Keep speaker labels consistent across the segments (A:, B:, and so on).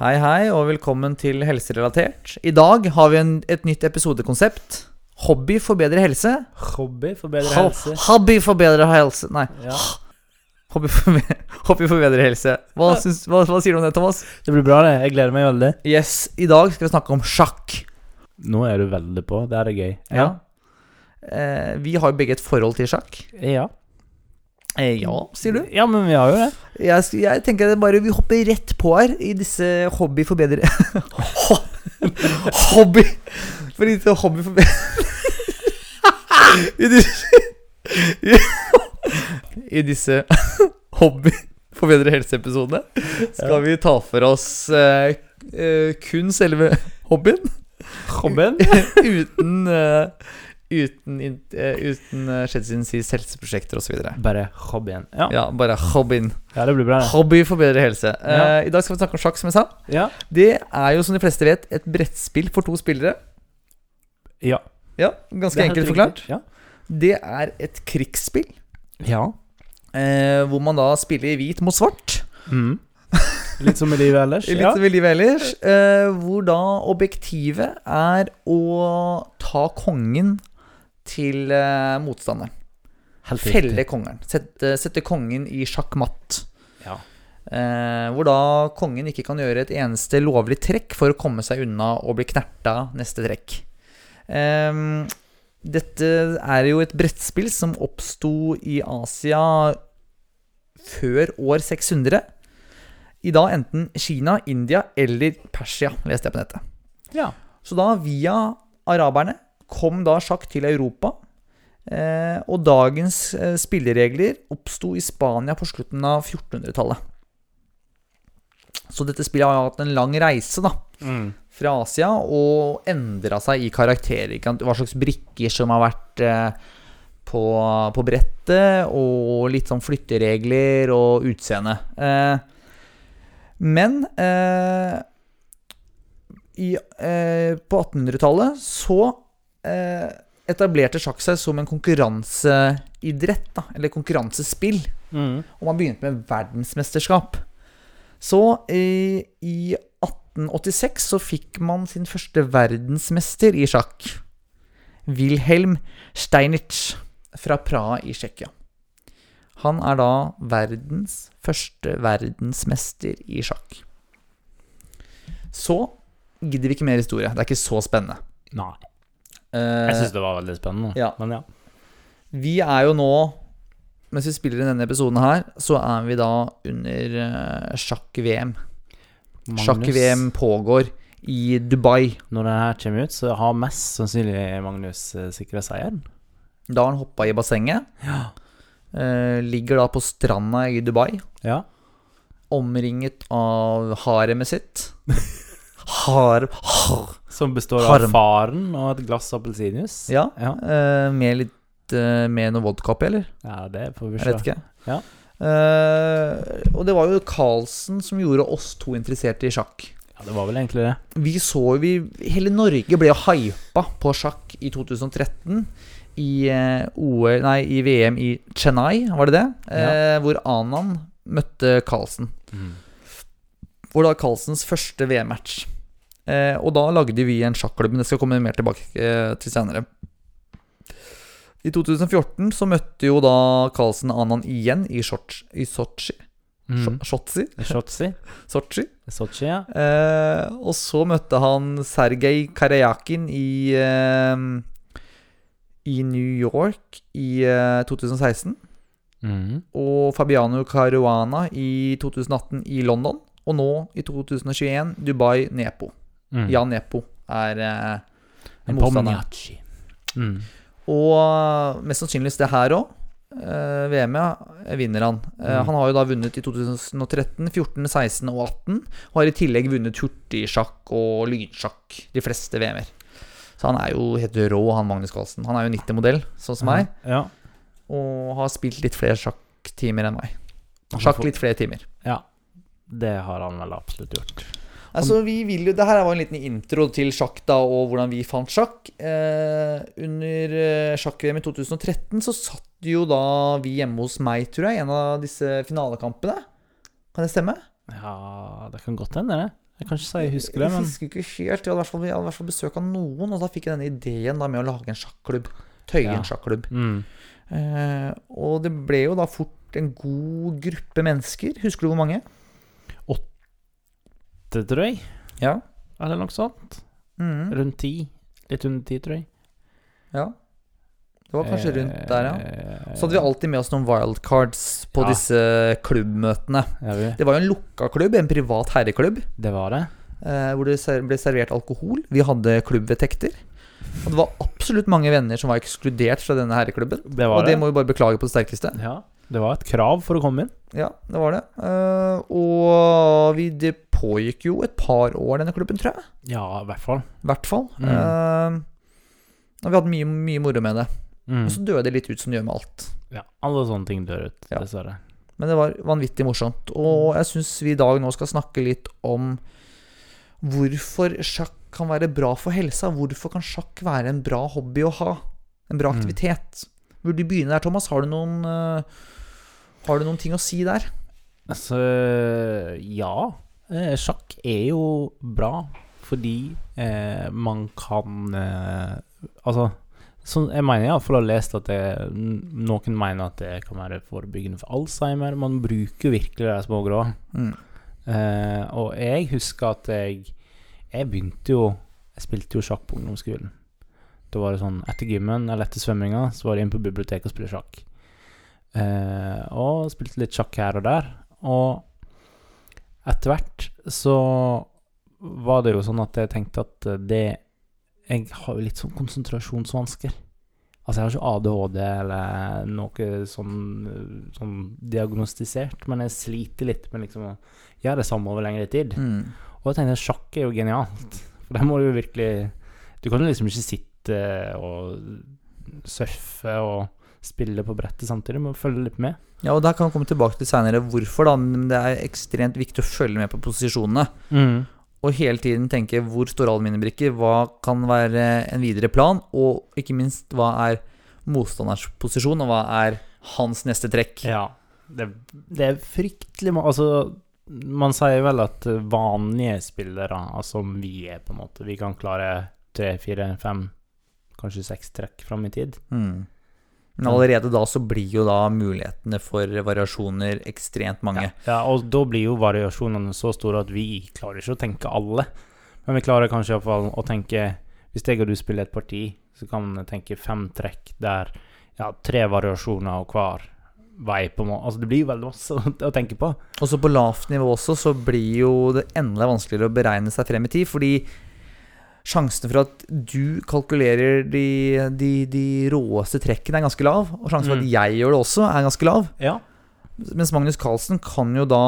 A: Hei, hei, og velkommen til Helserelatert. I dag har vi en, et nytt episodekonsept. Hobby for bedre helse.
B: Hobby for bedre
A: Ho-
B: helse.
A: Hobby for bedre helse Nei,
B: Ja.
A: hobby for, be- hobby for bedre helse. Hva, syns, hva, hva sier du om det, Thomas?
B: Det blir bra, det. Jeg gleder meg veldig.
A: Yes, I dag skal vi snakke om sjakk.
B: Nå er du veldig på. Det er det gøy.
A: Eh, vi har jo begge et forhold til sjakk.
B: Ja.
A: Eh, ja, sier du?
B: Ja, men vi har jo det.
A: Jeg, sk- jeg tenker det bare vi hopper rett på her i disse hobby for bedre Ho- Hobby For disse hobby for bedre I disse I disse hobby for bedre helse-episodene skal
B: Ja.
A: vi ta for oss eh, eh, kun selve hobbyen
B: Hobbyen?
A: uten eh, Uten, in- eh, uten eh, skjedd siden sist helseprosjekter osv.
B: Bare hobbyen. Ja.
A: Ja, bare hobbyen.
B: ja, det blir bra, det.
A: Hobby for bedre helse.
B: Ja.
A: Eh, I dag skal vi snakke om sjakk, som jeg sa.
B: Ja.
A: Det er jo, som de fleste vet, et brettspill for to spillere.
B: ja.
A: Ja, Ganske
B: Det er
A: enkelt
B: helt riktig.
A: forklart.
B: Ja.
A: Det er et krigsspill
B: ja.
A: eh, hvor man da spiller hvit mot svart.
B: Mm. Litt som i livet ellers.
A: Litt
B: Ja.
A: som i livet ellers. Eh, hvor da objektivet er å ta kongen til eh, motstanderen.
B: Helt riktig.
A: Felle kongen. Sette, sette kongen i sjakkmatt.
B: Ja.
A: Eh, hvor da kongen ikke kan gjøre et eneste lovlig trekk for å komme seg unna og bli knerta neste trekk. Ehm, dette er jo et brettspill som oppsto i Asia før år 600. I dag enten Kina, India eller Persia, leste jeg på nettet.
B: ja.
A: Så da, via araberne, kom da sjakk til Europa. Eh, og dagens eh, spilleregler oppsto i Spania på slutten av 1400-tallet. Så dette spillet har hatt en lang reise da,
B: Mm.
A: fra Asia og endra seg i karakterer. Ikke sant? Hva slags brikker som har vært eh, på, på brettet, og litt sånn flytteregler og utseende. Eh, men eh, i, eh, på 1800-tallet så eh, etablerte sjakk seg som en konkurranseidrett, da, eller konkurransespill.
B: Mm.
A: Og man begynte med verdensmesterskap. Så i, i 1886 så fikk man sin første verdensmester i sjakk. Wilhelm Steinitz fra Praha i Tsjekkia. Han er da verdens første verdensmester i sjakk. Så gidder vi ikke mer historie. Det er ikke så spennende.
B: Nei.
A: Eh,
B: Jeg syns det var veldig spennende.
A: Ja.
B: Men ja.
A: Vi er jo nå, mens vi spiller inn denne episoden her, så er vi da under eh, sjakk-VM.
B: Magnus,
A: Sjakk-VM pågår i Dubai.
B: Når den her kommer ut, så har mest sannsynlig Magnus eh, sikra seieren.
A: Da har han hoppa i bassenget.
B: Ja.
A: eh, ligger da på stranda i Dubai,
B: Ja.
A: omringet av haremet sitt. Har... har
B: Som består
A: Harm.
B: av faren og et glass appelsinjuice.
A: ja.
B: Ja.
A: eh, med litt eh, Med noe vodka oppi, eller?
B: ja, det får
A: Jeg
B: vi se.
A: vet ikke.
B: Ja.
A: Eh, og det var jo Carlsen som gjorde oss to interesserte i sjakk.
B: Ja, det var vel egentlig det.
A: vi så jo vi, Hele Norge ble jo hypa på sjakk i 2013. I, eh, OL, nei, I VM i Chennai, var det det? Eh, hvor Anan møtte Carlsen.
B: Mm.
A: Hvor da Carlsens første VM-match. Eh, og da lagde vi en sjakklubb, men det skal jeg komme mer tilbake eh, til senere. I 2014 så møtte jo da Carlsen Anan igjen i Sotsji. I Sotsji?
B: Mm.
A: Sotsji?
B: Shotzi.
A: Sotsji?
B: Sotsji, ja.
A: Eh, og så møtte han Sergej Karajakin i eh, I New York i eh, 2016.
B: Mm.
A: Og Fabiano Caruana i 2018 i London. Og nå, i 2021, Dubai Nepo.
B: Mm.
A: Jan Nepo er eh,
B: En
A: motstanderen.
B: Pomniachi. Mm.
A: Og mest sannsynligvis det her òg. Eh, VM-et vinner han. Eh,
B: Mm.
A: Han har jo da vunnet i 2013, 14, 16 og 18. Og har i tillegg vunnet hurtigsjakk og lynsjakk, de fleste VM-er. Så han er jo helt rå, han Magnus Carlsen. Han er jo 90-modell, sånn
B: Mhm.
A: som meg.
B: Ja.
A: Og har spilt litt flere sjakktimer enn meg.
B: Han
A: Sjakk
B: får-
A: litt flere timer.
B: ja. Det har han vel absolutt gjort.
A: Altså, vi vil jo, Det her var en liten intro til sjakk da, og hvordan vi fant sjakk. Eh, under eh, sjakk-VM i 2013 så satt jo da vi hjemme hos meg, tror jeg, i en av disse finalekampene. Kan det stemme?
B: Ja, det kan godt hende, det. Jeg kan ikke si jeg husker det,
A: Jeg
B: men
A: husker ikke helt. Jeg hadde i hvert fall- jeg hadde i hvert fall besøk av noen, og da fikk jeg denne ideen da, med å lage en sjakklubb. Tøye
B: Ja.
A: en sjakklubb.
B: mm.
A: Eh, og det ble jo da fort en god gruppe mennesker. Husker du hvor mange?
B: Det tror jeg.
A: Ja.
B: Eller noe sånt.
A: Mm,
B: Rundt ti. Litt under ti, tror jeg.
A: ja. Det var kanskje
B: Eh,
A: rundt der, ja.
B: ja.
A: Så hadde vi alltid med oss noen wildcards på
B: Ja.
A: disse klubbmøtene.
B: vi.
A: Det var jo en lukka klubb, en privat herreklubb,
B: Det var det.
A: eh, hvor det ser- ble servert alkohol. Vi hadde klubbvedtekter. Og det var absolutt mange venner som var ekskludert fra denne herreklubben.
B: Det var
A: Og det
B: det.
A: må vi bare beklage på det sterkeste.
B: Ja. Det var et krav for å komme inn.
A: Ja, det var det. Eh, og vi, det pågikk jo et par år, denne klubben, tror jeg.
B: Ja, i hvert fall.
A: I hvert fall.
B: Mm.
A: Eh, og vi hadde mye, mye moro med det.
B: Mm.
A: Og så døde det litt ut som det gjør med alt.
B: Ja, alle sånne ting dør ut,
A: Ja.
B: dessverre.
A: Men det var vanvittig morsomt. Og jeg syns vi i dag nå skal snakke litt om hvorfor sjakk kan være bra for helsa. Hvorfor kan sjakk være en bra hobby å ha? En bra
B: Mm.
A: aktivitet. Vil du begynne der, Thomas? Har du noen, eh, har du noen ting å si der?
B: Altså, ja. eh, Sjakk er jo bra fordi eh, man kan eh, Altså, sånn, jeg mener iallfall å ha lest at det, n- noen mener at det kan være forebyggende for Alzheimer. Man bruker virkelig de små grå.
A: Mm.
B: Eh, og jeg husker at jeg Jeg begynte jo Jeg spilte jo sjakk på ungdomsskolen. Da var det sånn etter gymmen eller etter svømminga, så var det inn på biblioteket og spille sjakk. Eh, og spilte litt sjakk her og der. Og etter hvert så var det jo sånn at jeg tenkte at det Jeg har jo litt sånn konsentrasjonsvansker. Altså, jeg har ikke ADHD eller noe sånn, sånn diagnostisert, men jeg sliter litt med liksom å gjør det samme over lengre tid.
A: Mm.
B: Og jeg tenkte sjakk er jo genialt. For der må du jo virkelig Du kan jo liksom ikke sitte og surfe og spille på brettet samtidig, du må følge litt med.
A: Ja, og der kan vi komme tilbake til seinere hvorfor, da. Men det er ekstremt viktig å følge med på posisjonene. Og hele tiden tenke hvor står alle mine brikker, hva kan være en videre plan, og ikke minst hva er motstanders posisjon, og hva er hans neste trekk.
B: Ja. Det, det er fryktelig ma- Altså, man sier vel at vanlige spillere, altså som vi er, på en måte, vi kan klare tre, fire, fem, kanskje seks trekk fram i tid.
A: Mm. Men allerede da så blir jo da mulighetene for variasjoner ekstremt mange.
B: Ja, ja, og da blir jo variasjonene så store at vi klarer ikke å tenke alle. Men vi klarer kanskje iallfall å tenke Hvis jeg og du spiller et parti, så kan vi tenke fem trekk der ja, tre variasjoner og hver vei på må... Altså, det blir jo veldig masse å, å tenke på.
A: Og så på lavt nivå også, så blir jo det enda vanskeligere å beregne seg frem i tid, fordi sjansen for at du kalkulerer de, de, de råeste trekkene er ganske lav, og sjansen for
B: Mm.
A: at jeg gjør det også er ganske lav.
B: Ja.
A: Mens Magnus Carlsen kan jo da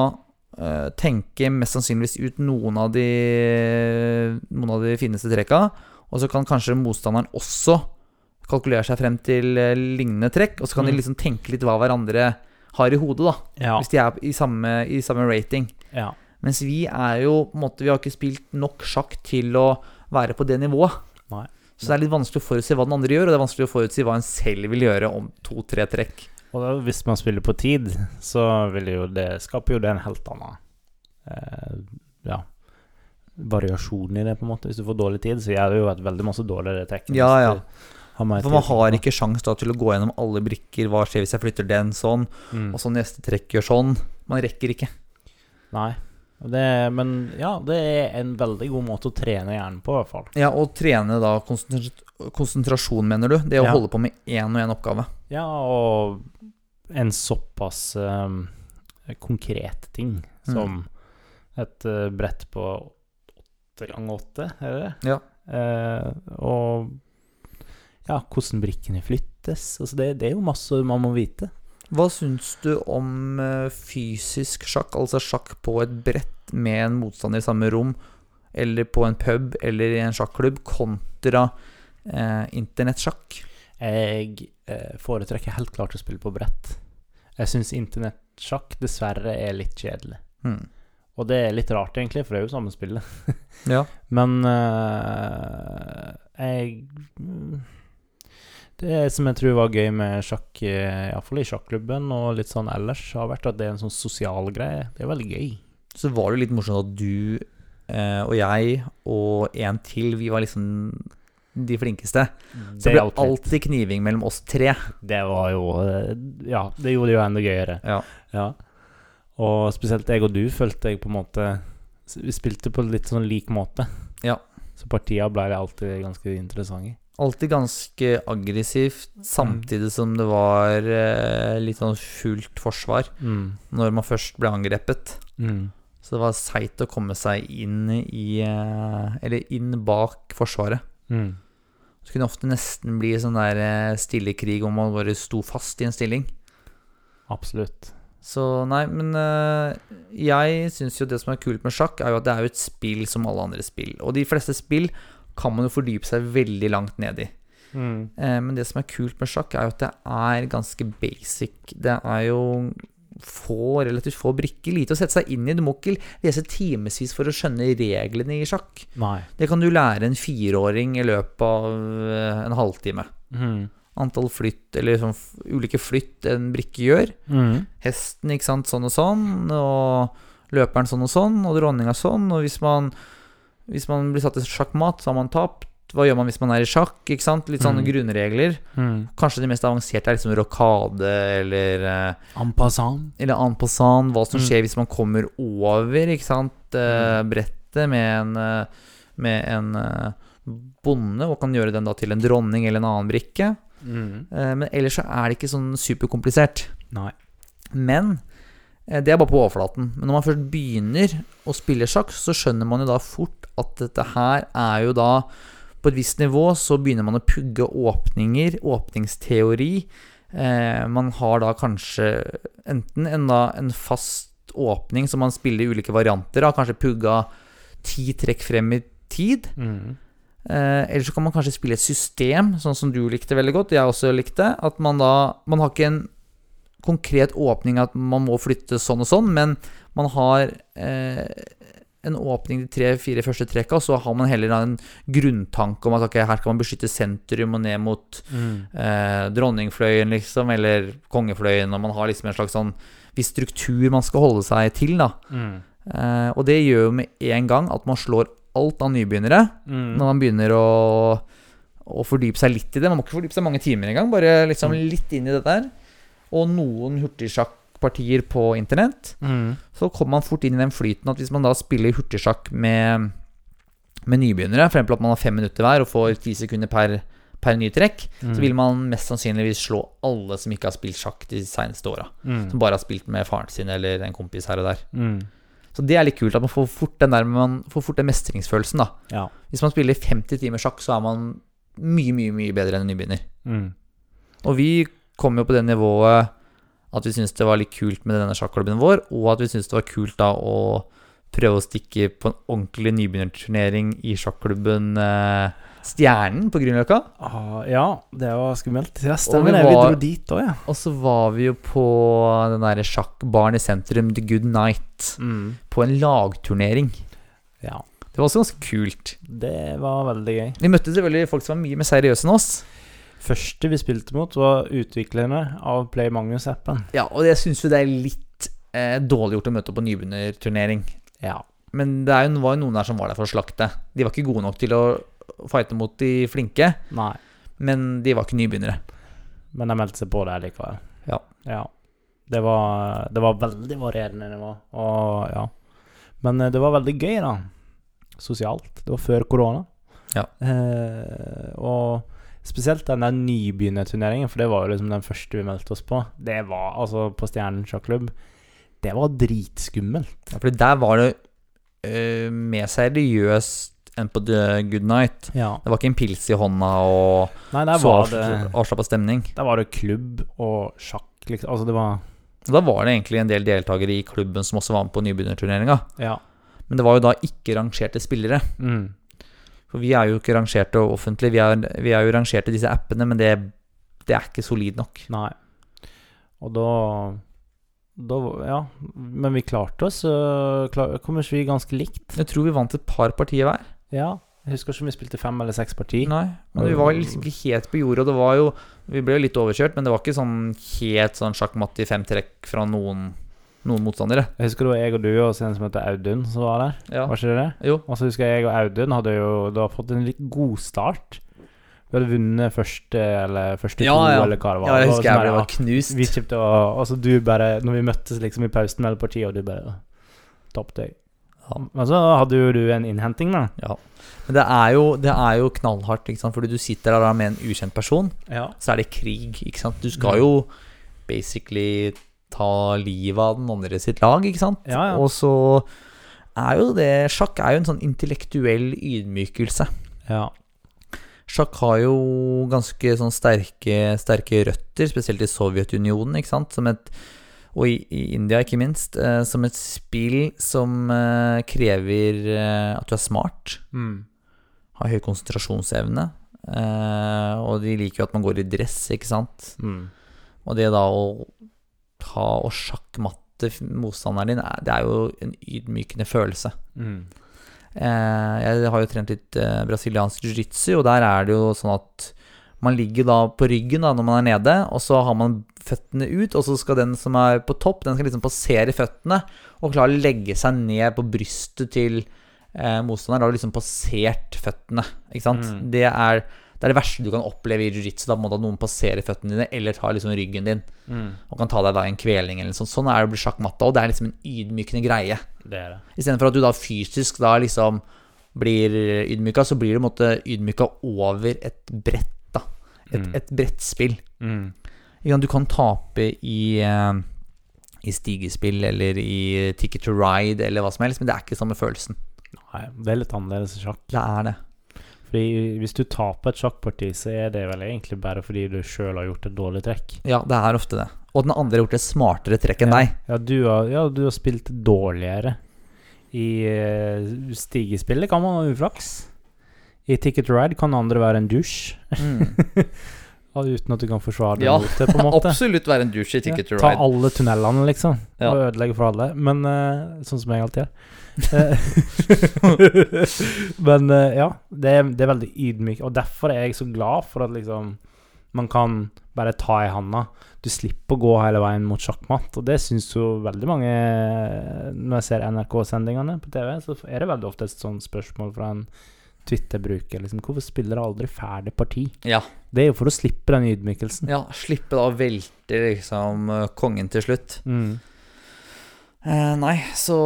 A: eh, tenke mest sannsynligvis ut noen av de, noen av de fineste trekka, og så kan kanskje motstanderen også kalkulere seg frem til eh, lignende trekk, og så kan de
B: Mm.
A: liksom tenke litt hva hverandre har i hodet, da,
B: Ja.
A: hvis de er i samme, i samme rating.
B: ja.
A: Mens vi er jo på en måte, Vi har ikke spilt nok sjakk til å være på det nivået.
B: Nei.
A: Så det er litt vanskelig å forutsi hva den andre gjør, og det er vanskelig å forutsi hva en selv vil gjøre om to-tre trekk.
B: Og da, hvis man spiller på tid, så vil jo det Skaper jo det en helt annen eh, Ja variasjon i det, på en måte. Hvis du får dårlig tid, så gjør det jo et veldig masse dårligere trekk. enn
A: Ja,
B: hvis
A: ja.
B: du har mer
A: For man
B: tid.
A: har ikke sjans da til å gå gjennom alle brikker. Hva skjer hvis jeg flytter den sånn,
B: Mm.
A: og så neste trekk gjør sånn? Man rekker ikke.
B: Nei. Og Det, men ja, det er en veldig god måte å trene hjernen på, i hvert fall.
A: Ja, og trene da konsentrasjon, konsentrasjon mener du? Det å
B: Ja.
A: holde på med én og én oppgave.
B: Ja, og en såpass um, konkret ting som et eh, brett på åtte ganger åtte, er det det?
A: Ja.
B: Eh, og ja, hvordan brikkene flyttes. Altså det, det er jo masse man må vite.
A: Hva syns du om eh, fysisk sjakk, altså sjakk på et brett med en motstander i samme rom, eller på en pub eller i en sjakklubb, kontra eh, internettsjakk?
B: Jeg eh, foretrekker helt klart å spille på brett. Jeg syns internettsjakk dessverre er litt kjedelig.
A: Hmm.
B: Og det er litt rart, egentlig, for det er jo samme spillet.
A: Ja.
B: Men eh, jeg mm, Det som jeg tror var gøy med sjakk, eh, iallfall i sjakklubben og litt sånn ellers, har vært at det er en sånn sosial greie. Det er veldig gøy.
A: Så var det litt morsomt at du Eh, og jeg og en til, vi var liksom de flinkeste. Mm. Så
B: Det
A: det ble
B: hjalp litt.
A: alltid kniving mellom oss tre.
B: Det var jo eh, Ja, det gjorde det jo enda gøyere.
A: Ja.
B: Og spesielt jeg og du følte jeg på en måte s- Vi spilte på litt sånn lik måte.
A: Ja.
B: Så partia ble det alltid ganske interessante.
A: Alltid ganske aggressivt, samtidig som det var eh, litt sånn fullt forsvar
B: Mm.
A: når man først ble angrepet.
B: Mm.
A: Så det var seigt å komme seg inn i eh, Eller inn bak Forsvaret.
B: Mm.
A: Så kunne det ofte nesten bli sånn der eh, stille krig om man bare sto fast i en stilling.
B: Absolutt.
A: Så nei, men eh, jeg syns jo det som er kult med sjakk, er jo at det er jo et spill som alle andre spill. Og de fleste spill kan man jo fordype seg veldig langt ned i.
B: Mm.
A: Eh, men det som er kult med sjakk, er jo at det er ganske basic. Det er jo få, relativt få brikker, lite å sette seg inn i. Du må ikke lese timevis for å skjønne reglene i sjakk.
B: Nei.
A: Det kan du lære en fireåring i løpet av eh, en halvtime.
B: Mm.
A: Antall flytt, eller sånn f- ulike flytt en brikke gjør
B: Mm.
A: hesten, ikke sant, sånn og sånn, og løperen sånn og sånn, og dronninga sånn, og hvis man, hvis man blir satt i sjakkmat, så har man tapt. Hva gjør man hvis man er i sjakk? ikke sant? Litt sånne
B: Mm.
A: grunnregler.
B: Mm.
A: Kanskje det mest avanserte er liksom rokade, eller, eh,
B: En passant.
A: eller en passant. Hva som
B: Mm.
A: skjer hvis man kommer over ikke sant, eh, brettet med en, eh, med en eh, bonde, og kan gjøre den da til en dronning eller en annen brikke.
B: Mm.
A: Eh, Men ellers så er det ikke sånn superkomplisert.
B: Nei.
A: Men eh, det er bare på overflaten. Men når man først begynner å spille sjakk, så skjønner man jo da fort at dette her er jo da På et visst nivå så begynner man å pugge åpninger, åpningsteori. Eh, man har da kanskje enten en, da, en fast åpning som man spiller i ulike varianter av, kanskje pugga ti trekk frem i tid.
B: Mm.
A: Eh, eller så kan man kanskje spille et system, sånn som du likte veldig godt, jeg også likte. At man da Man har ikke en konkret åpning at man må flytte sånn og sånn, men man har eh, en åpning de tre-fire første trekka, og så har man heller da en grunntanke om at ok, her kan man beskytte sentrum og ned mot
B: Mm.
A: eh, dronningfløyen, liksom, eller kongefløyen, og man har liksom en slags sånn viss struktur man skal holde seg til, da.
B: Mm.
A: Eh, og det gjør jo med en gang at man slår alt av nybegynnere
B: Mm.
A: når man begynner å, å fordype seg litt i det. Man må ikke fordype seg mange timer engang, bare liksom
B: Mm.
A: litt inn i dette her. Og noen hurtigsjakkpartier på internett.
B: Mm.
A: Så kommer man fort inn i den flyten at hvis man da spiller hurtigsjakk med, med nybegynnere, frem til at man har fem minutter hver og får ti sekunder per, per ny trekk,
B: Mm.
A: så vil man mest sannsynligvis slå alle som ikke har spilt sjakk de seneste åra. Som
B: mm.
A: bare har spilt med faren sin eller en kompis her og der.
B: Mm.
A: Så det er litt kult at man får fort den, der, man får fort den mestringsfølelsen, da.
B: Ja.
A: Hvis man spiller 50 timer sjakk, så er man mye, mye, mye bedre enn en nybegynner.
B: Mm.
A: Og vi kom jo på det nivået at vi syntes det var litt kult med denne sjakklubben vår, og at vi syntes det var kult da å prøve å stikke på en ordentlig nybegynnerturnering i sjakklubben eh, Stjernen på Grünerløkka.
B: Ah, ja, det var skummelt. Ja,
A: vi
B: stemmer det. Vi
A: var-
B: dro dit òg, ja.
A: Og så var vi jo på den derre sjakkbaren i sentrum, The Good Night,
B: Mm.
A: på en lagturnering.
B: Ja.
A: Det var også ganske kult.
B: Det var veldig gøy.
A: Vi møtte selvfølgelig folk som var mye mer seriøse enn oss.
B: Første vi spilte mot, var utviklerne av Play Magnus-appen.
A: Ja, og jeg syns jo det er litt eh, dårlig gjort å møte opp på nybegynnerturnering.
B: Ja.
A: Men det er jo, var jo noen der som var der for å slakte. De var ikke gode nok til å fighte mot de flinke,
B: Nei.
A: men de var ikke nybegynnere.
B: Men de meldte seg på der likevel.
A: Ja.
B: ja. Det, var, det var veldig varierende nivå. Og ja. Men eh, det var veldig gøy, da. Sosialt. Det var før korona.
A: Ja.
B: Eh, og spesielt den der nybegynnerturneringen, for det var jo liksom den første vi meldte oss på. Det var altså på Stjernen sjakklubb. Det var dritskummelt.
A: Ja, For der var det eh, mer seriøst enn på The Good Night.
B: Ja.
A: Det var ikke en pils i hånda og
B: Nei, der
A: så
B: var
A: avs-
B: det
A: avslappa stemning.
B: Der var det klubb og sjakk, liksom. Altså, det var
A: Og da var det egentlig en del deltakere i klubben som også var med på nybegynnerturneringa.
B: Ja.
A: Men det var jo da ikke rangerte spillere.
B: Mm.
A: For vi er jo ikke rangerte og offentlig, vi er, vi er jo rangert i disse appene, men det, det er ikke solid nok.
B: Nei. Og da da, ja, men vi klarte oss. øh, klar, kom ikke vi ganske likt?
A: Jeg tror vi vant et par partier hver.
B: Ja. Jeg husker ikke om vi spilte fem eller seks parti.
A: Nei, men vi var liksom ikke helt på jordet, og det var jo Vi ble jo litt overkjørt, men det var ikke sånn helt sånn sjakkmatt i fem trekk fra noen noen motstandere.
B: Jeg husker det var jeg og du og en som heter Audun som var der.
A: Ja.
B: Var ikke det det?
A: Jo.
B: Og så husker jeg og Audun hadde jo da fått en litt god start. Vi hadde vunnet første eller første
A: Ja,
B: to,
A: ja.
B: eller hva det var.
A: Ja, jeg
B: Det var
A: husker
B: sånn
A: jeg ble
B: der,
A: var knust.
B: Vi kjøpte og og så du bare Når vi møttes liksom i pausen mellom partiet, og du bare tapte jeg.
A: Ja.
B: Men så hadde jo du en innhenting, da.
A: Men det er jo, det er jo knallhardt, ikke sant? fordi du sitter der med en ukjent person,
B: Ja.
A: så er det krig, ikke sant. Du
B: Mm.
A: skal jo basically ta livet av den andre sitt lag, ikke sant.
B: Ja, ja.
A: Og så er jo det Sjakk er jo en sånn intellektuell ydmykelse.
B: ja.
A: Sjakk har jo ganske sånn sterke, sterke røtter, spesielt i Sovjetunionen, ikke sant? Som et, og i, i India, ikke minst, eh, som et spill som eh, krever eh, at du er smart,
B: Mm.
A: har høy konsentrasjonsevne, eh, og de liker jo at man går i dress, ikke sant?
B: Mm.
A: Og det da å ha og sjakkmatte f- motstanderen din, er- det er jo en ydmykende følelse.
B: Mm.
A: Eh, jeg har jo trent litt eh, brasiliansk jiu-jitsu, og der er det jo sånn at man ligger da på ryggen da når man er nede, og så har man føttene ut, og så skal den som er på topp, den skal liksom passere føttene og klare å legge seg ned på brystet til eh, motstanderen. Da har du liksom passert føttene, ikke sant?
B: Mm.
A: Det, er, det er det verste du kan oppleve i jiu-jitsu, da på en måte at noen passerer føttene dine eller tar liksom ryggen din
B: Mm.
A: og kan ta deg da i en kvelning eller noe sånt. Sånn er det å bli sjakkmatta, og det er liksom en ydmykende greie.
B: Det er det.
A: Istedenfor at du da fysisk da liksom blir ydmyka, så blir du på en måte ydmyka over et brett, da. Et,
B: Mm.
A: et brettspill.
B: Mm.
A: Ikke sant, Du kan tape i, eh, i stigespill eller i Ticket to Ride eller hva som helst, men det er ikke samme følelsen.
B: Nei, det er litt annerledes i sjakk.
A: Det er det.
B: Fordi hvis du taper et sjakkparti, så er det vel egentlig bare fordi du sjøl har gjort et dårlig trekk.
A: Ja, det er ofte det. Og den andre har gjort et smartere trekk enn deg.
B: Ja, du har, ja, du har spilt dårligere. I eh, stigespillet kan man ha uflaks. I Ticket to Ride kan andre være en dusj,
A: Mm.
B: ja, uten at du kan forsvare deg
A: Ja,
B: mot det, på en måte.
A: Absolutt være en douche i
B: Ja, Ta alle tunnelene, liksom,
A: Ja.
B: og ødelegge for alle. Men eh, sånn som jeg alltid gjør. Eh, Men eh, ja, det er, det er veldig ydmykt, og derfor er jeg så glad for at liksom man kan bare ta i handa. Du slipper å gå hele veien mot sjakkmatt, og det syns jo veldig mange eh, Når jeg ser NRK-sendingene på TV, så er det veldig ofte et sånt spørsmål fra en Twitter-bruker liksom Hvorfor spiller dere aldri ferdig parti?
A: Ja.
B: Det er jo for å slippe den ydmykelsen.
A: ja, slippe da å velte liksom eh, kongen til slutt.
B: Mm.
A: Eh, nei, så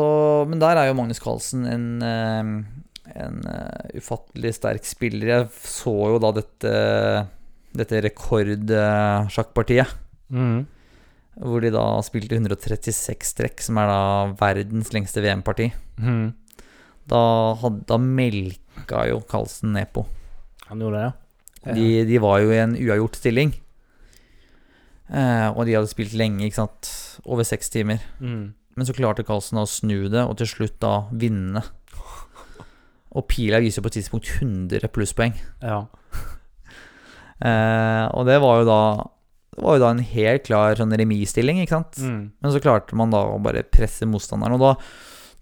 A: Men der er jo Magnus Carlsen en, eh, en eh, ufattelig sterk spiller. Jeg så jo da dette, dette rekordsjakkpartiet.
B: Mm.
A: Hvor de da spilte 136 trekk, som er da verdens lengste VM-parti.
B: Mm.
A: Da, hadde- da melka jo Carlsen Nepo.
B: Han gjorde det, ja.
A: De, de var jo i en uavgjort stilling. Eh, og de hadde spilt lenge, ikke sant. Over seks timer.
B: Mm.
A: Men så klarte Carlsen å snu det, og til slutt da vinne. Og pila viser på et tidspunkt 100 plusspoeng.
B: ja.
A: Eh, og det var jo da Det var jo da en helt klar sånn remisstilling, ikke sant?
B: Mm.
A: Men så klarte man da å bare presse motstanderen, og da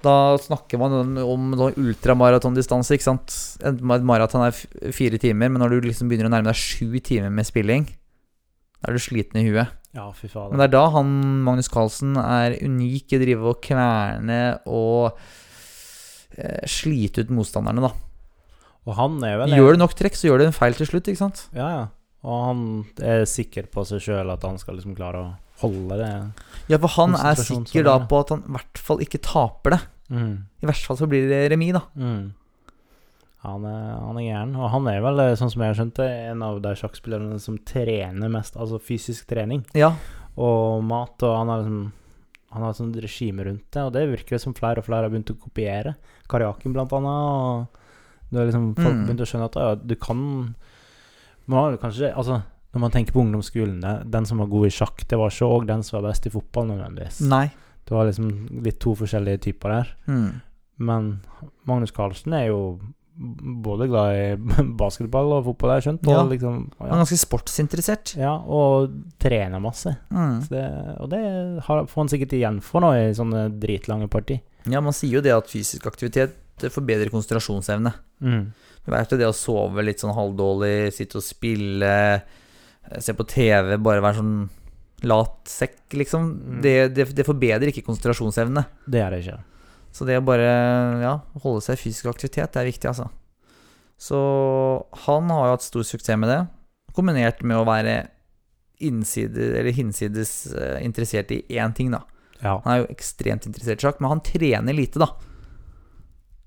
A: da snakker man om- om sånn ultramaratondistanse, ikke sant. Et ma- et maraton er f- fire timer, men når du liksom begynner å nærme deg sju timer med spilling, da er du sliten i huet.
B: ja, fy
A: Men
B: fader.
A: det er da han, Magnus Carlsen, er unik i å drive og kverne og eh, slite ut motstanderne, da.
B: Og han er vel
A: Gjør du nok trekk, så gjør du en feil til slutt, ikke sant?
B: Ja, ja. Og han er sikker på seg sjøl at han skal liksom klare å holde det.
A: Ja, for han er
B: Konsentrasjonsforhold,
A: sikker da
B: ja.
A: på at han i hvert fall ikke taper det.
B: Mm.
A: I hvert fall så blir det remis, da.
B: Mm. Han, er, han er gæren. Og han er vel, eh, sånn som jeg har skjønt det, en av de sjakkspillerne som trener mest, altså fysisk trening
A: Ja,
B: og mat, og han har liksom han har et sånt regime rundt det, og det virker jo som flere og flere har begynt å kopiere. Karaken, blant annet. Og det er liksom folk
A: Mm.
B: begynt å skjønne at ja, du kan Man har jo kanskje Altså, når man tenker på ungdomsskolen, det, den som var god i sjakk, det var ikke òg den som var best i fotball, nødvendigvis.
A: nei.
B: Det var liksom litt to forskjellige typer der.
A: Hmm.
B: Men Magnus Carlsen er jo b- både glad i basketball og fotball, har jeg skjønt, og
A: Ja.
B: liksom
A: Han
B: ja,
A: er ganske sportsinteressert.
B: ja, og trener masse.
A: Hmm.
B: Så det, og det har, får han sikkert igjen for nå i sånne dritlange parti.
A: Ja, man sier jo det at fysisk aktivitet eh, forbedrer konsentrasjonsevne.
B: Mm.
A: Du vet jo det å sove litt sånn halvdårlig, sitte og spille, eh, se på TV, bare være sånn latsekk, liksom.
B: Mm.
A: Det, det, det forbedrer ikke konsentrasjonsevne.
B: Det gjør jeg ikke.
A: Så det å bare ja, holde seg i fysisk aktivitet, det er viktig, altså. Så han har jo hatt stor suksess med det, kombinert med å være innsides, eller hinsides eh, interessert i én ting, da.
B: Ja.
A: Han er jo ekstremt interessert i sjakk, men han trener lite, da.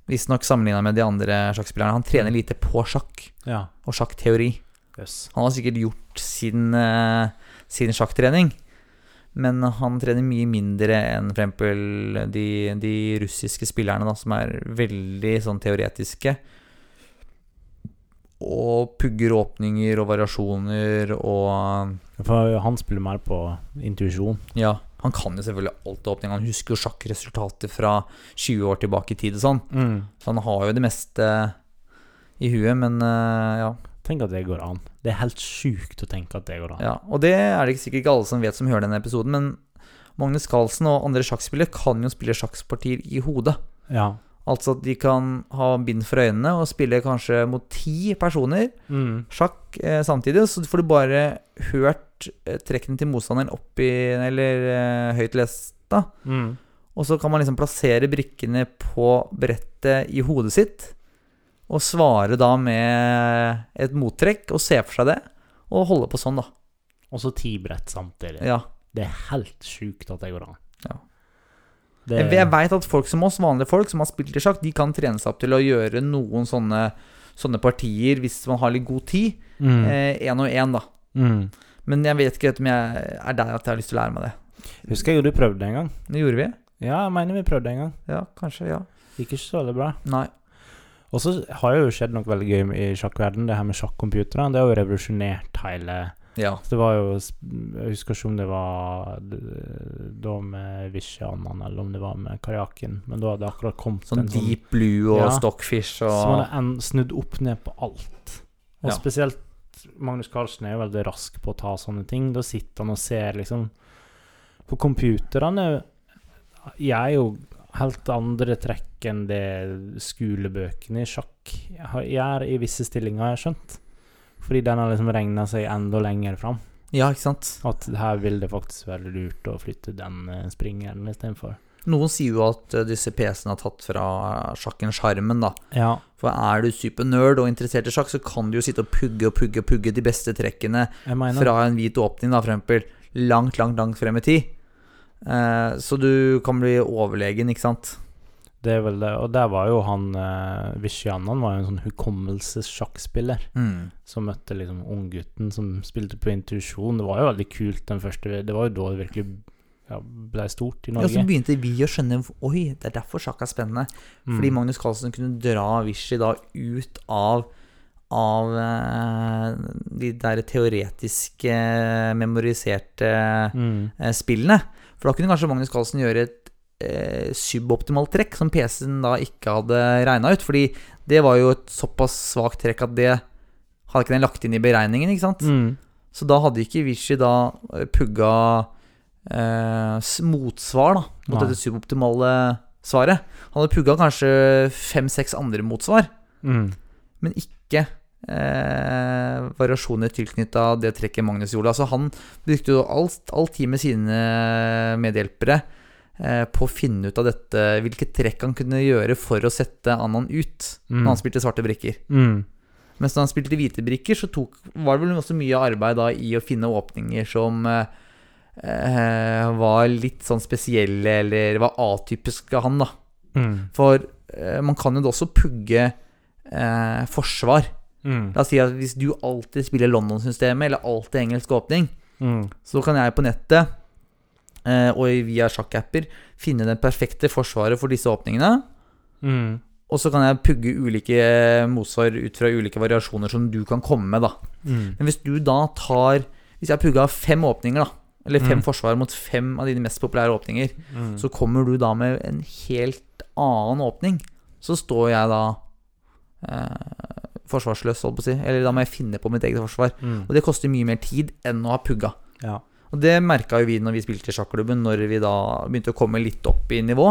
A: Visstnok sammenligna med de andre sjakkspillerne. Han trener lite på sjakk
B: ja.
A: og sjakkteori.
B: Yes.
A: Han har sikkert gjort sin, eh, sin sjakktrening, men han trener mye mindre enn for eksempel de, de russiske spillerne, da, som er veldig sånn teoretiske. Og pugger åpninger og variasjoner og
B: For han spiller mer på intuisjon.
A: Ja, han kan jo selvfølgelig alt av åpning. Han husker jo sjakkresultater fra 20 år tilbake i tid og sånn.
B: Mm.
A: Så han har jo det meste i huet, men eh, ja.
B: Tenk at det går an. Det er helt sjukt å tenke at det går an.
A: ja. Og det er det ikke sikkert ikke alle som vet som hører denne episoden, men Magnus Carlsen og andre sjakkspillere kan jo spille sjakkpartier i hodet.
B: Ja.
A: Altså at de kan ha bind for øynene og spille kanskje mot ti personer
B: Mm.
A: sjakk eh, samtidig, så får du bare hørt eh, trekkene til motstanderen opp i Eller eh, høyt lest, da.
B: Mm.
A: Og så kan man liksom plassere brikkene på brettet i hodet sitt, og svare da med et mottrekk, og se for seg det, og holde på sånn, da.
B: Og så ti brett samtidig.
A: Ja.
B: Det er helt sjukt at det går an.
A: Ja.
B: Det,
A: Jeg, jeg veit at folk som oss, vanlige folk som har spilt i sjakk, de kan trene seg opp til å gjøre noen sånne, sånne partier hvis man har litt god tid.
B: mm.
A: Én og én, da.
B: Mm.
A: Men jeg vet ikke helt om jeg er der at jeg har lyst til å lære meg det.
B: Husker jeg jo du prøvde det en gang.
A: Det gjorde vi.
B: Ja, jeg mener vi prøvde det en gang.
A: Ja, kanskje. Ja.
B: Gikk ikke så veldig bra.
A: Nei.
B: Og så har det jo skjedd noe veldig gøy i sjakkverdenen, det her med sjakkcomputerne. Det har jo revolusjonert hele
A: Ja.
B: Så Det var jo Jeg husker ikke om det var d- da med Vishyanan, eller om det var med Karjakin, men da hadde det akkurat kommet
A: Sånn
B: en sånn
A: deep blue og
B: Ja.
A: stockfish
B: Så man
A: og
B: er en, snudd opp ned på alt. Og
A: Ja.
B: spesielt Magnus Carlsen er jo veldig rask på å ta sånne ting. Da sitter han og ser liksom På computerne Jeg er jo helt andre trekk enn det skolebøkene i sjakk gjør i visse stillinger, har jeg skjønt. Fordi den har liksom regna seg enda lenger fram.
A: Ja, ikke sant.
B: At her vil det faktisk være lurt å flytte den eh, springeren istedenfor.
A: Noen sier jo at eh, disse PC-ene har tatt fra sjakken sjarmen, da.
B: Ja.
A: For er du supernerd og interessert i sjakk, så kan du jo sitte og pugge og pugge og pugge de beste trekkene
B: Jeg mener
A: fra en hvit åpning, da, for eksempel. Langt, langt, langt frem i tid. Eh, så du kan bli overlegen, ikke sant.
B: Det er vel det. Og der var jo han eh, Vishyanan var jo en sånn hukommelsessjakkspiller
A: Mm.
B: som møtte liksom unggutten som spilte på intuisjon. Det var jo veldig kult den første Det var jo da det virkelig ja, ble stort i
A: Og så
B: Norge.
A: begynte vi å skjønne Oi, det er derfor sjakk er spennende. Fordi
B: mm.
A: Magnus Carlsen kunne dra Vichy da ut av av eh, de der teoretiske, memoriserte
B: Mm.
A: eh, spillene. For da kunne kanskje Magnus Carlsen gjøre et eh, suboptimalt trekk som PC-en da ikke hadde regna ut. Fordi det var jo et såpass svakt trekk at det hadde ikke den lagt inn i beregningen. ikke sant?
B: Mm.
A: Så da hadde ikke Vichy da eh, pugga eh, s- motsvar da, mot
B: Nei.
A: dette suboptimale svaret. Han hadde pugga kanskje fem-seks andre motsvar,
B: Mm.
A: men ikke eh, variasjoner tilknytta det trekket Magnus gjorde. Altså han brukte jo alt, all tid med sine medhjelpere eh, på å finne ut av dette, hvilke trekk han kunne gjøre for å sette Annan ut
B: Mm.
A: når han spilte svarte brikker.
B: Mm.
A: Mens da han spilte hvite brikker, så tok, var det vel også mye arbeid da i å finne åpninger som eh, eh, var litt sånn spesielle, eller var atypiske han, da.
B: Mm.
A: For eh, man kan jo da også pugge eh, forsvar.
B: Mm.
A: La oss si at hvis du alltid spiller London-systemet, eller alltid engelsk åpning,
B: Mm.
A: så kan jeg på nettet, eh, og via sjakkapper, finne det perfekte forsvaret for disse åpningene.
B: Mm.
A: Og så kan jeg pugge ulike eh, motsvar ut fra ulike variasjoner som du kan komme med, da.
B: Mm.
A: Men hvis du da tar Hvis jeg pugga fem åpninger, da, eller fem
B: Mm.
A: forsvar mot fem av dine mest populære åpninger,
B: Mm.
A: så kommer du da med en helt annen åpning. Så står jeg da eh, forsvarsløs, holdt på å si. Eller da må jeg finne på mitt eget forsvar.
B: Mm.
A: Og det koster mye mer tid enn å ha pugga.
B: Ja.
A: Og det merka jo vi når vi spilte i sjakklubben, når vi da begynte å komme litt opp i nivå.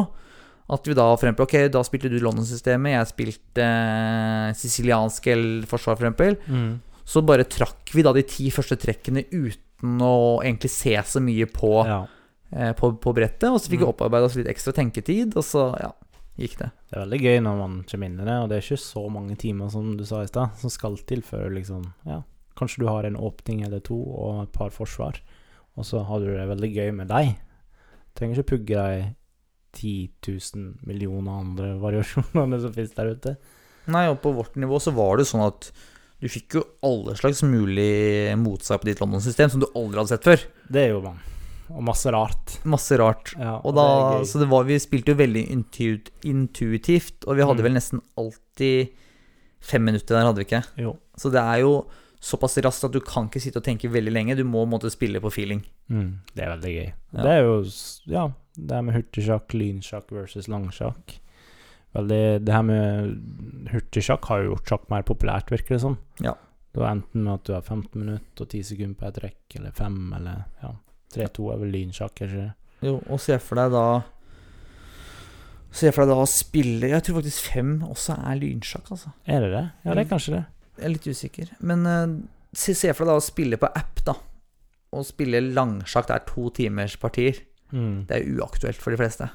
A: At vi da for eksempel, ok, da spilte du London-systemet, jeg spilte eh, siciliansk el- forsvar, for eksempel
B: Mm.
A: så bare trakk vi da de ti første trekkene ut uten å egentlig se så mye på,
B: Ja,
A: eh, på, på brettet. Og så fikk vi
B: Mm.
A: opparbeida oss litt ekstra tenketid, og så ja, gikk det.
B: det er veldig gøy når man kommer inn i det, og det er ikke så mange timer som du sa i stad, som skal til før du liksom Ja, kanskje du har en åpning eller to og et par forsvar, og så har du det veldig gøy med deg. Trenger ikke pugge de 10 000 millioner andre variasjonene som finnes der ute.
A: Nei, og på vårt nivå så var det jo sånn at du fikk jo alle slags mulig mot seg på ditt London-system som du aldri hadde sett før.
B: Det gjorde man. Og masse rart.
A: Masse rart.
B: Ja,
A: Og da,
B: det er gøy.
A: så det var, vi spilte jo veldig intu- intuitivt, og vi hadde
B: Mm.
A: vel nesten alltid fem minutter der, hadde vi ikke?
B: Jo.
A: Så det er jo såpass raskt at du kan ikke sitte og tenke veldig lenge, du må på en måte spille på feeling.
B: Mm, det er veldig gøy.
A: Ja.
B: Det er jo s- Ja, det her med hurtigsjakk, lynsjakk versus langsjakk. Veldig Det her med hurtigsjakk har jo gjort sjakk mer populært, virker det som.
A: Ja.
B: Det er enten med at du har 15 minutter og 10 sekunder på et trekk, eller 5, eller ja. 3-2 er vel lynsjakk, er ikke det?
A: Jo, og se for deg da Se for deg da å spille Jeg tror faktisk fem også er lynsjakk, altså.
B: Er det det? Ja, det er kanskje det.
A: Jeg er litt usikker. Men eh, se, se for deg da å spille på app, da. Å spille langsjakk, det er to timers partier.
B: Mm.
A: Det er uaktuelt for de fleste.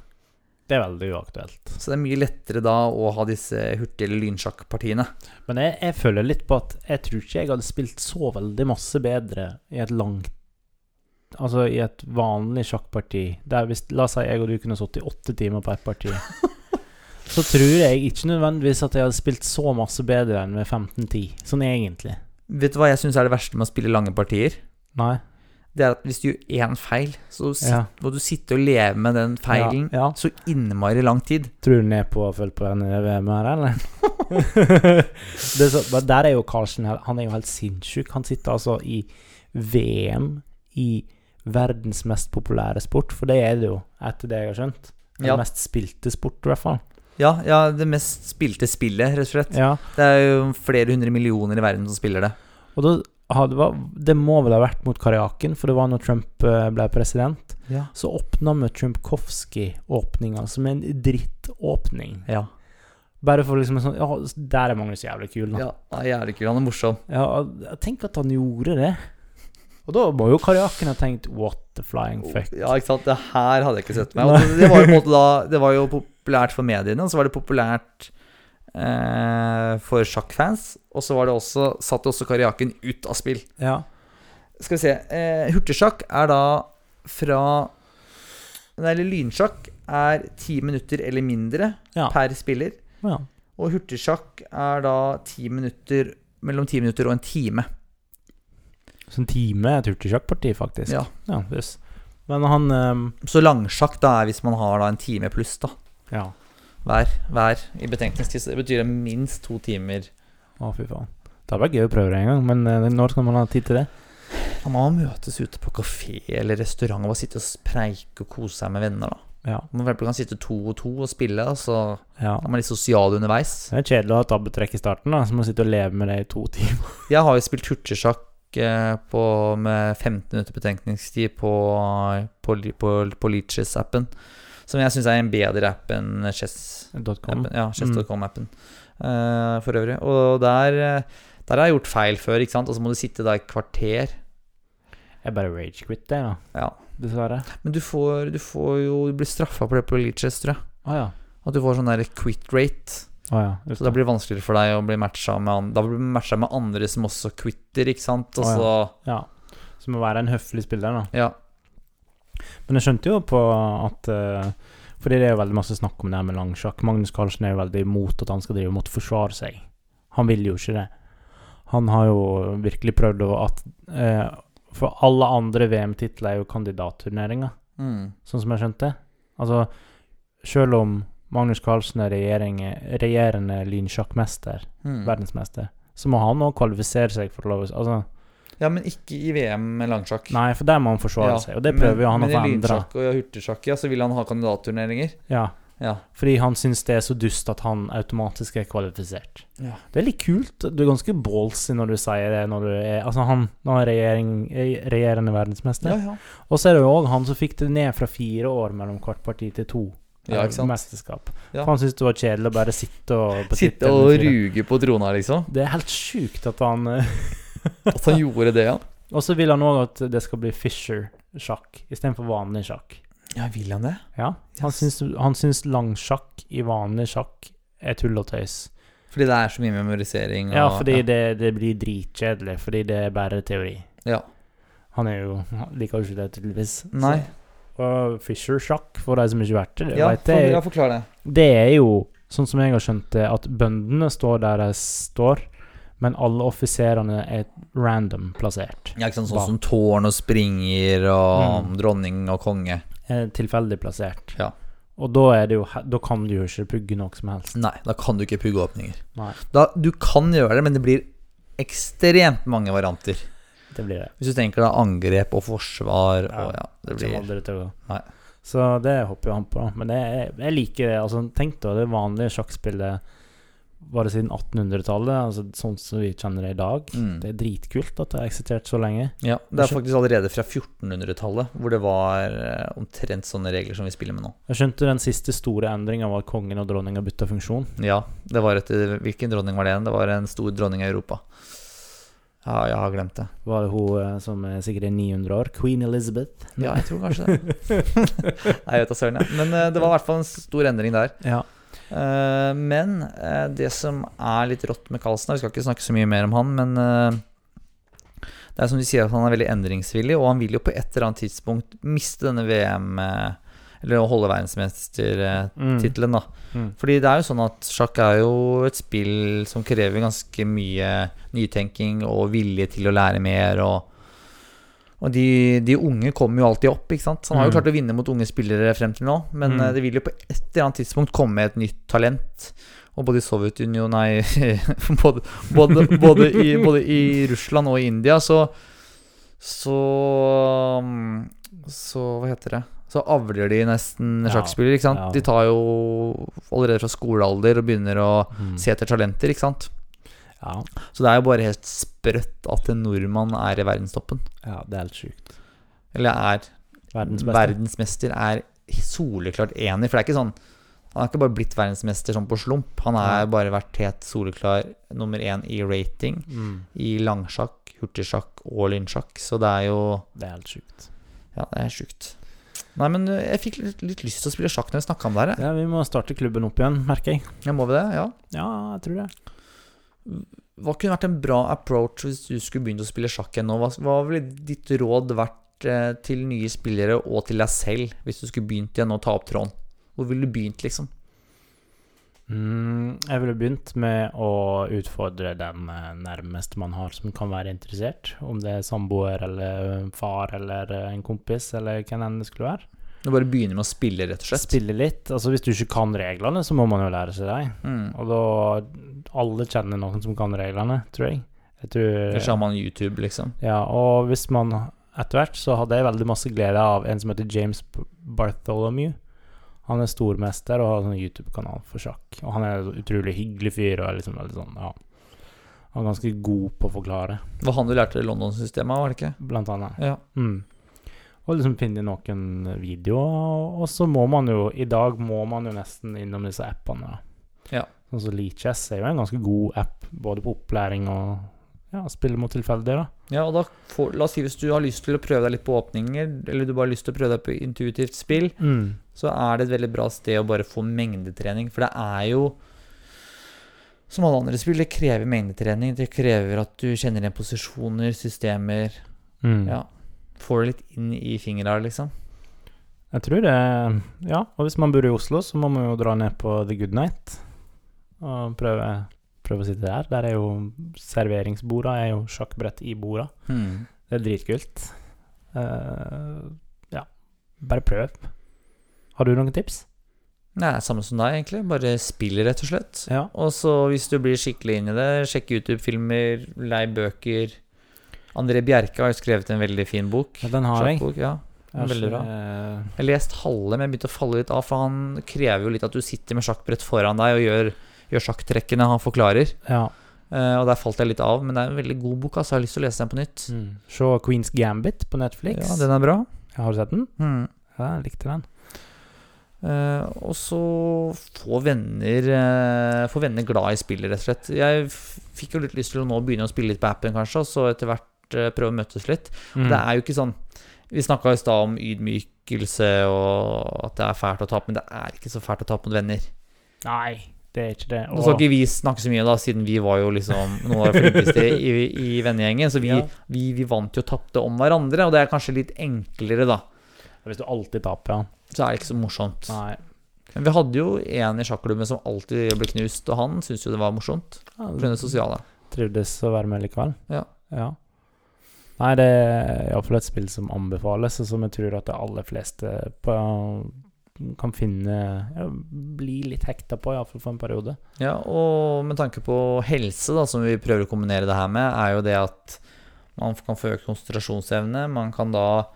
B: Det er veldig uaktuelt.
A: Så det er mye lettere da å ha disse hurtig- eller lynsjakkpartiene.
B: Men jeg, jeg føler litt på at jeg tror ikke jeg hadde spilt så veldig masse bedre i et langt Altså i et vanlig sjakkparti der hvis, La oss si jeg og du kunne sittet i åtte timer på ett parti. Så tror jeg ikke nødvendigvis at jeg hadde spilt så masse bedre enn med 15-10. Sånn egentlig.
A: Vet du hva jeg syns er det verste med å spille lange partier?
B: Nei.
A: Det er at hvis du gjør én feil, så sit,
B: Ja.
A: må du sitte og leve med den feilen
B: Ja, ja.
A: så innmari lang tid.
B: Tror du ned på å følge på den i VM her, eller? det er så, men der er jo Karlsen her, han er jo helt sinnssyk. Han sitter altså i VM i verdens mest populære sport, for det er det jo, etter det jeg har skjønt. Den
A: Ja.
B: mest spilte sport, i hvert fall.
A: Ja, ja, det mest spilte spillet, rett og slett.
B: Ja.
A: Det er jo flere hundre millioner i verden som spiller det.
B: Og da hadde, var- det må vel ha vært mot Karjakin, for det var når Trump eh, ble president.
A: Ja.
B: Så åpna vi Trumkovskij-åpninga som en drittåpning.
A: Ja,
B: Bare for liksom en sånn Ja, der er Magnus jævlig kul, da.
A: ja det er jævlig kult. Han er morsom.
B: Ja, tenk at han gjorde det. Og da må jo Karjakin ha tenkt What the flying fuck.
A: Ja, ikke sant. Det her hadde jeg ikke sett meg. Og det, var jo på en måte da, det var jo populært for mediene, og så var det populært eh, for sjakkfans. Og så var det også, satt også Karjakin ut av spill.
B: Ja.
A: Skal vi se. Eh, hurtigsjakk er da fra Nei, eller lynsjakk er ti minutter eller mindre
B: Ja.
A: per spiller.
B: ja.
A: Og hurtigsjakk er da ti minutter mellom ti minutter og en time.
B: Så en time er et hurtigsjakkparti, faktisk.
A: Ja.
B: ja jøss. Men han ehm,
A: Så langsjakk da er hvis man har da en time pluss, da.
B: Ja.
A: Hver, hver i betenkningstid. Så det betyr minst to timer.
B: Å, fy faen. Det hadde vært gøy å prøve det en gang, men eh, når skal man ha tid til det?
A: Ja, Man må møtes ute på kafé eller restaurant og bare sitte og preike og kose seg med venner. da
B: Ja.
A: Man for eksempel kan sitte to og to og spille, og så
B: ja.
A: er man litt sosial underveis.
B: Det er kjedelig å ha tabbetrekk i starten, da, så må man sitte og leve med det i to timer.
A: Jeg har jo spilt hurtigsjakk eh, på, med 15 minutter betenkningstid på, på, på, på Leaches-appen, som jeg syns er en bedre app enn Chess.
B: Dot com.
A: Appen, ja, chess.com-appen eh, for øvrig. Og der, eh, der har jeg gjort feil før, ikke sant? og så må du sitte da i et kvarter.
B: Jeg bare rage-quit det, da.
A: Ja.
B: Dessverre.
A: Men du får, du får jo Du blir straffa på det på Leaches, tror jeg.
B: Å ja.
A: At du får sånn der quit rate.
B: Å ja.
A: Så da blir det vanskeligere for deg å bli matcha med, an da blir du matcha med andre som også quitter, ikke sant. Og
B: Å,
A: så
B: ja. Så må være en høflig spiller, da.
A: Ja.
B: Men jeg skjønte jo på at eh, Fordi det er jo veldig masse snakk om det her med langsjakk. Magnus Carlsen er jo veldig imot at han skal drive og måtte forsvare seg. Han vil jo ikke det. Han har jo virkelig prøvd å at eh, For alle andre VM-titler er jo kandidatturneringer,
A: Mm.
B: sånn som jeg skjønte. Altså, sjøl om Magnus Carlsen er regjering- regjerende lynsjakkmester,
A: Mm.
B: verdensmester, så må han òg kvalifisere seg for å love Altså,
A: Ja, men ikke i VM med langsjakk.
B: nei, for der må han forsvare
A: Ja,
B: seg, og det prøver jo han å
A: men,
B: få
A: Men i
B: endra.
A: lynsjakk og hurtigsjakk, ja, så vil han ha kandidatturneringer.
B: Ja.
A: Ja.
B: Fordi han syns det er så dust at han automatisk er kvalifisert.
A: Ja.
B: Det er litt kult. Du er ganske ballsy når du sier det. Når du er, altså han, når han er regjering, er regjerende verdensmester.
A: Ja, ja.
B: Og så er det jo òg han som fikk det ned fra fire år mellom hvert parti til to.
A: Ja,
B: eh,
A: ikke sant?
B: Mesterskap.
A: Ja.
B: For han syntes det var kjedelig å bare sitte og på
A: Sitte
B: tittelen
A: og
B: fire.
A: ruge på trona, liksom.
B: Det er helt sjukt at han eh,
A: At han gjorde det, ja.
B: Og så vil han òg at det skal bli Fischer-sjakk istedenfor vanlig sjakk.
A: Ja, vil han det?
B: Ja, Han
A: Yes.
B: syns, han syns langsjakk i vanlig sjakk er tull og tøys.
A: Fordi det er så mye memorisering og
B: Ja, fordi Det, det blir dritkjedelig, fordi det er bare teori.
A: Ja.
B: Han er jo han liker jo ikke det, tydeligvis. Så-
A: Nei.
B: Og Fischer-sjakk, for de som ikke vet det, det,
A: Ja,
B: vet
A: for,
B: jeg,
A: ja, forklar det.
B: det er jo, sånn som jeg har skjønt det, at bøndene står der de står, men alle offiserene er random plassert.
A: Ja, ikke sant,
B: Bak.
A: Sånn som tårn og springer og
B: Mm.
A: dronning og konge.
B: Eh, Tilfeldig plassert.
A: Ja.
B: Og da, er det jo, he- da kan du jo ikke pugge noe som helst.
A: Nei, da kan du ikke pugge åpninger.
B: Nei.
A: Da, du kan gjøre det, men det blir ekstremt mange varianter.
B: Det blir det.
A: Hvis du tenker deg angrep og forsvar
B: Ja,
A: og ja, det
B: Som
A: blir
B: aldri til å gå.
A: Nei.
B: Så det hopper jo han på. Men det er, jeg liker det. Altså, tenk da, det vanlige sjakkspillet bare siden 1800-tallet, altså, sånn som vi kjenner det i dag.
A: mm.
B: Det er dritkult at det har eksistert så lenge.
A: Ja, det er faktisk allerede fra 1400-tallet hvor det var eh, omtrent sånne regler som vi spiller med nå.
B: Jeg skjønte den siste store endringa var at kongen og dronninga bytta funksjon.
A: Ja, det var et Hvilken dronning var det igjen? Det var en stor dronning i Europa. Ja, jeg har glemt det.
B: Var det hun eh, som er sikkert er 900 år? Queen Elizabeth?
A: Ja, jeg tror kanskje det. Nei, jeg vet da søren. jeg. Men eh, det var i hvert fall en stor endring der.
B: Ja.
A: Eh, men eh, det som er litt rått med Carlsen her, Vi skal ikke snakke så mye mer om han, men eh, det er som du sier at han er veldig endringsvillig, og han vil jo på et eller annet tidspunkt miste denne VM eh, Eller å holde verdensmestertittelen,
B: Mm.
A: da.
B: Mm.
A: Fordi det er jo sånn at sjakk er jo et spill som krever ganske mye nytenking og vilje til å lære mer og og de, de unge kommer jo alltid opp. ikke sant? Så han har jo
B: Mm.
A: klart å vinne mot unge spillere frem til nå, men
B: Mm.
A: eh, det vil jo på et eller annet tidspunkt komme et nytt talent. Og både i Sovjetunionen Nei, både, både, både, i, både i Russland og i India så Så mm, Så hva heter det? Så avler de nesten
B: Ja,
A: sjakkspillere. ikke sant?
B: ja.
A: De tar jo allerede fra skolealder og begynner å
B: Mm.
A: se etter talenter. ikke sant?
B: Ja.
A: Så det er jo bare helt sprøtt at en nordmann er i verdenstoppen.
B: ja, det er helt sjukt.
A: Eller er
B: Verdens beste.
A: verdensmester er soleklart enig, for det er ikke sånn han har ikke bare blitt verdensmester sånn på slump. Han har
B: Nei.
A: bare vært helt soleklar nummer én i rating
B: Mm.
A: i langsjakk, hurtigsjakk og lynsjakk. Så det er jo
B: Det er helt sjukt.
A: Ja, det er sjukt. Nei, men øh, jeg fikk litt, litt lyst til å spille sjakk når vi snakka om det her.
B: Ja, vi må starte klubben opp igjen, merker jeg.
A: jeg. Ja, må vi det? Ja.
B: Ja, jeg tror det.
A: Hva kunne vært en bra approach hvis du skulle begynt å spille sjakk igjen nå? Hva, hva ville ditt råd vært eh, til nye spillere og til deg selv hvis du skulle begynt igjen å ta opp tråden? Hvor ville du begynt, liksom?
B: Mm, jeg ville begynt med å utfordre den eh, nærmeste man har som kan være interessert. Om det er samboer eller far eller eh, en kompis eller hvem enn det skulle være.
A: Du bare begynner med å spille, rett og slett.
B: Spille litt. Altså Hvis du ikke kan reglene, så må man jo lære seg dem.
A: Mm.
B: Og da Alle kjenner noen som kan reglene, tror jeg. jeg
A: Eller
B: tror,
A: så har man YouTube, liksom.
B: ja, og hvis man etter hvert så hadde jeg veldig masse glede av en som heter James B- Bartholomew. Han er stormester og har sånn YouTube-kanal for sjakk. Og han er en utrolig hyggelig fyr og er liksom veldig sånn, ja. Han er ganske god på å forklare,
A: Det var han du lærte i London-systemet, var det ikke?
B: blant annet.
A: Ja.
B: Mm. Og liksom finne noen videoer, og- og så må man jo, i dag må man jo nesten innom disse appene. da.
A: Ja.
B: Sånn som Leechess er jo en ganske god app, både på opplæring og ja, spille mot tilfeldige, da.
A: ja og da får, la oss si hvis du har lyst til å prøve deg litt på åpninger, eller du bare har lyst til å prøve deg på intuitivt spill,
B: Mm.
A: så er det et veldig bra sted å bare få mengdetrening. For det er jo som alle andre spill, det krever mengdetrening. Det krever at du kjenner igjen posisjoner, systemer
B: Mm.
A: Ja. Får det litt inn i fingra, liksom.
B: Jeg tror det Ja, og hvis man bor i Oslo, så må man jo dra ned på The Good Night og prøve, prøve å sitte der. Der er jo serveringsborda er jo sjakkbrett i borda. Det er dritkult. Eh, ja, bare prøv. Har du noen tips?
A: Det er samme som deg, egentlig. Bare spill, rett og slett.
B: Ja.
A: Og så hvis du blir skikkelig inn i det, sjekk YouTube-filmer, lei bøker. André Bjerke har jo skrevet en veldig fin bok.
B: den har jeg.
A: Sjakkbok, ja.
B: Jeg har
A: Veldig
B: ikke-
A: Jeg har lest halve, men jeg begynte å falle litt av, for han krever jo litt at du sitter med sjakkbrett foran deg og gjør, gjør sjakktrekkene han forklarer.
B: Ja.
A: Eh, og der falt jeg litt av, men det er en veldig god bok, altså. Jeg har lyst til å lese den på nytt.
B: Mm. Se Queens Gambit på Netflix.
A: Ja, den er bra.
B: Jeg har du sett den?
A: Mm.
B: Ja, jeg likte den.
A: Eh, og så få venner eh, Få venner glad i spillet, rett og slett. Jeg f- fikk jo litt lyst til å nå begynne å spille litt på appen, kanskje, og så etter hvert vært eh, prøve å møtes litt.
B: Mm.
A: Det er jo ikke sånn Vi snakka i stad om ydmykelse og at det er fælt å tape, men det er ikke så fælt å tape mot venner.
B: Nei, det er ikke det.
A: Nå skal ikke vi snakke så mye, da, siden vi var jo liksom noen av de flinkeste i, i vennegjengen. Så vi,
B: Ja.
A: vi, vi vant jo og tapte om hverandre, og det er kanskje litt enklere, da.
B: Hvis du alltid taper, ja.
A: Så er det ikke så morsomt.
B: Nei.
A: Men vi hadde jo en i sjakklubben som alltid ble knust, og han syntes jo det var morsomt. For hun er sosial, da.
B: Trivdes å være med likevel.
A: Ja.
B: ja. Nei, det er iallfall et spill som anbefales, og som jeg tror at de aller fleste på, kan finne ja, Bli litt hekta på, iallfall for en periode.
A: Ja, og med tanke på helse, da, som vi prøver å kombinere det her med, er jo det at man kan få økt konsentrasjonsevne. Man kan da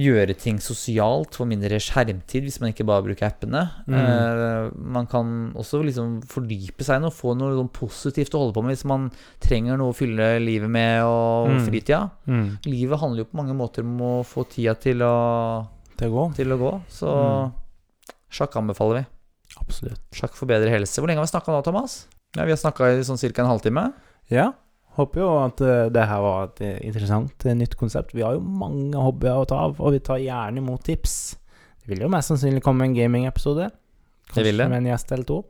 A: gjøre ting sosialt, få mindre skjermtid hvis man ikke bare bruker appene.
B: Mm.
A: Eh, man kan også liksom fordype seg i noe, få noe sånn positivt å holde på med hvis man trenger noe å fylle livet med og
B: Mm.
A: fritida. Livet handler jo på mange måter om å få tida til å,
B: Det går.
A: til å gå, så
B: Mm.
A: sjakk anbefaler vi.
B: Absolutt.
A: Sjakk for bedre helse. Hvor lenge har vi snakka nå, Thomas? Ja, Vi har snakka i sånn ca. en halvtime.
B: Ja. Håper jo at eh, det her var et eh, interessant eh, nytt konsept. Vi har jo mange hobbyer å ta av, og vi tar gjerne imot tips. Det vil jo mest sannsynlig komme en gaming-episode.
A: Det vil det.
B: Kanskje med en gjest eller to.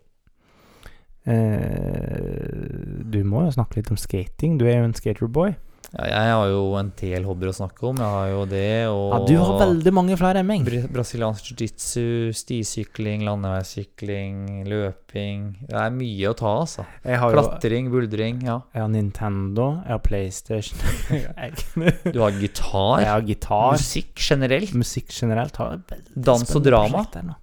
B: Eh, du må jo snakke litt om skating. Du er jo en skaterboy.
A: Ja, jeg har jo en del hobbyer å snakke om. Jeg har jo det og
B: Ja, du har veldig mange flere enn meg.
A: Bra- Brasiliansk jiu-jitsu, stisykling, landeveissykling, løping Det er mye å ta, altså.
B: Jeg har jo
A: Klatring, buldring. Ja.
B: jeg har Nintendo, jeg har PlayStation Jeg
A: Du har gitar,
B: har gitar.
A: musikk generelt.
B: Musikk generelt har jeg veldig
A: Dans og
B: spennende
A: drama.
B: prosjekt der nå.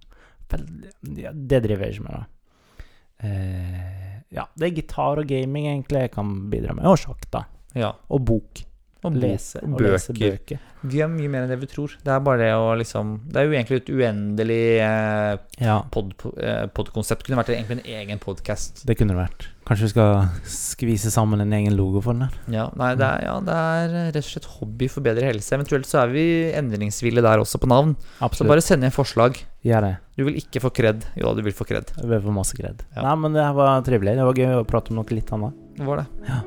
B: Veldig, ja, det driver jeg ikke med, da. Eh, ja, det er gitar og gaming egentlig jeg kan bidra med. Og sjakk, da.
A: Ja.
B: Og bok.
A: Og bok.
B: lese, og
A: bøker.
B: lese bøker.
A: Vi er mye mer enn det vi tror. Det er bare det å liksom Det er jo egentlig et uendelig eh,
B: Ja,
A: pod, eh, podkonsept. Kunne vært egentlig en egen podkast.
B: det kunne det vært. Kanskje vi skal skvise sammen en egen logo for den der.
A: Ja, nei, det er, ja, det er rett og slett hobby for bedre helse. Eventuelt så er vi endringsvillige der også på navn. Så
B: Absolutt.
A: bare send inn forslag.
B: Gjør det.
A: Du vil ikke få kred. Jo da, du vil få kred.
B: Jeg ble for masse gredd.
A: Ja.
B: Nei, men det her var trivelig. Det var gøy å prate om noe litt annet.
A: Det var det.
B: Ja.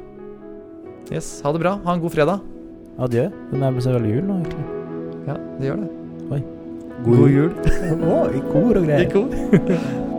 A: Yes, ha det bra. Ha en god fredag.
B: Adjø. Det nærmer seg vel jul nå, egentlig.
A: Ja, det gjør det.
B: God jul.
A: jul.
B: Å, i kor
A: Det
B: og greier.
A: er cool.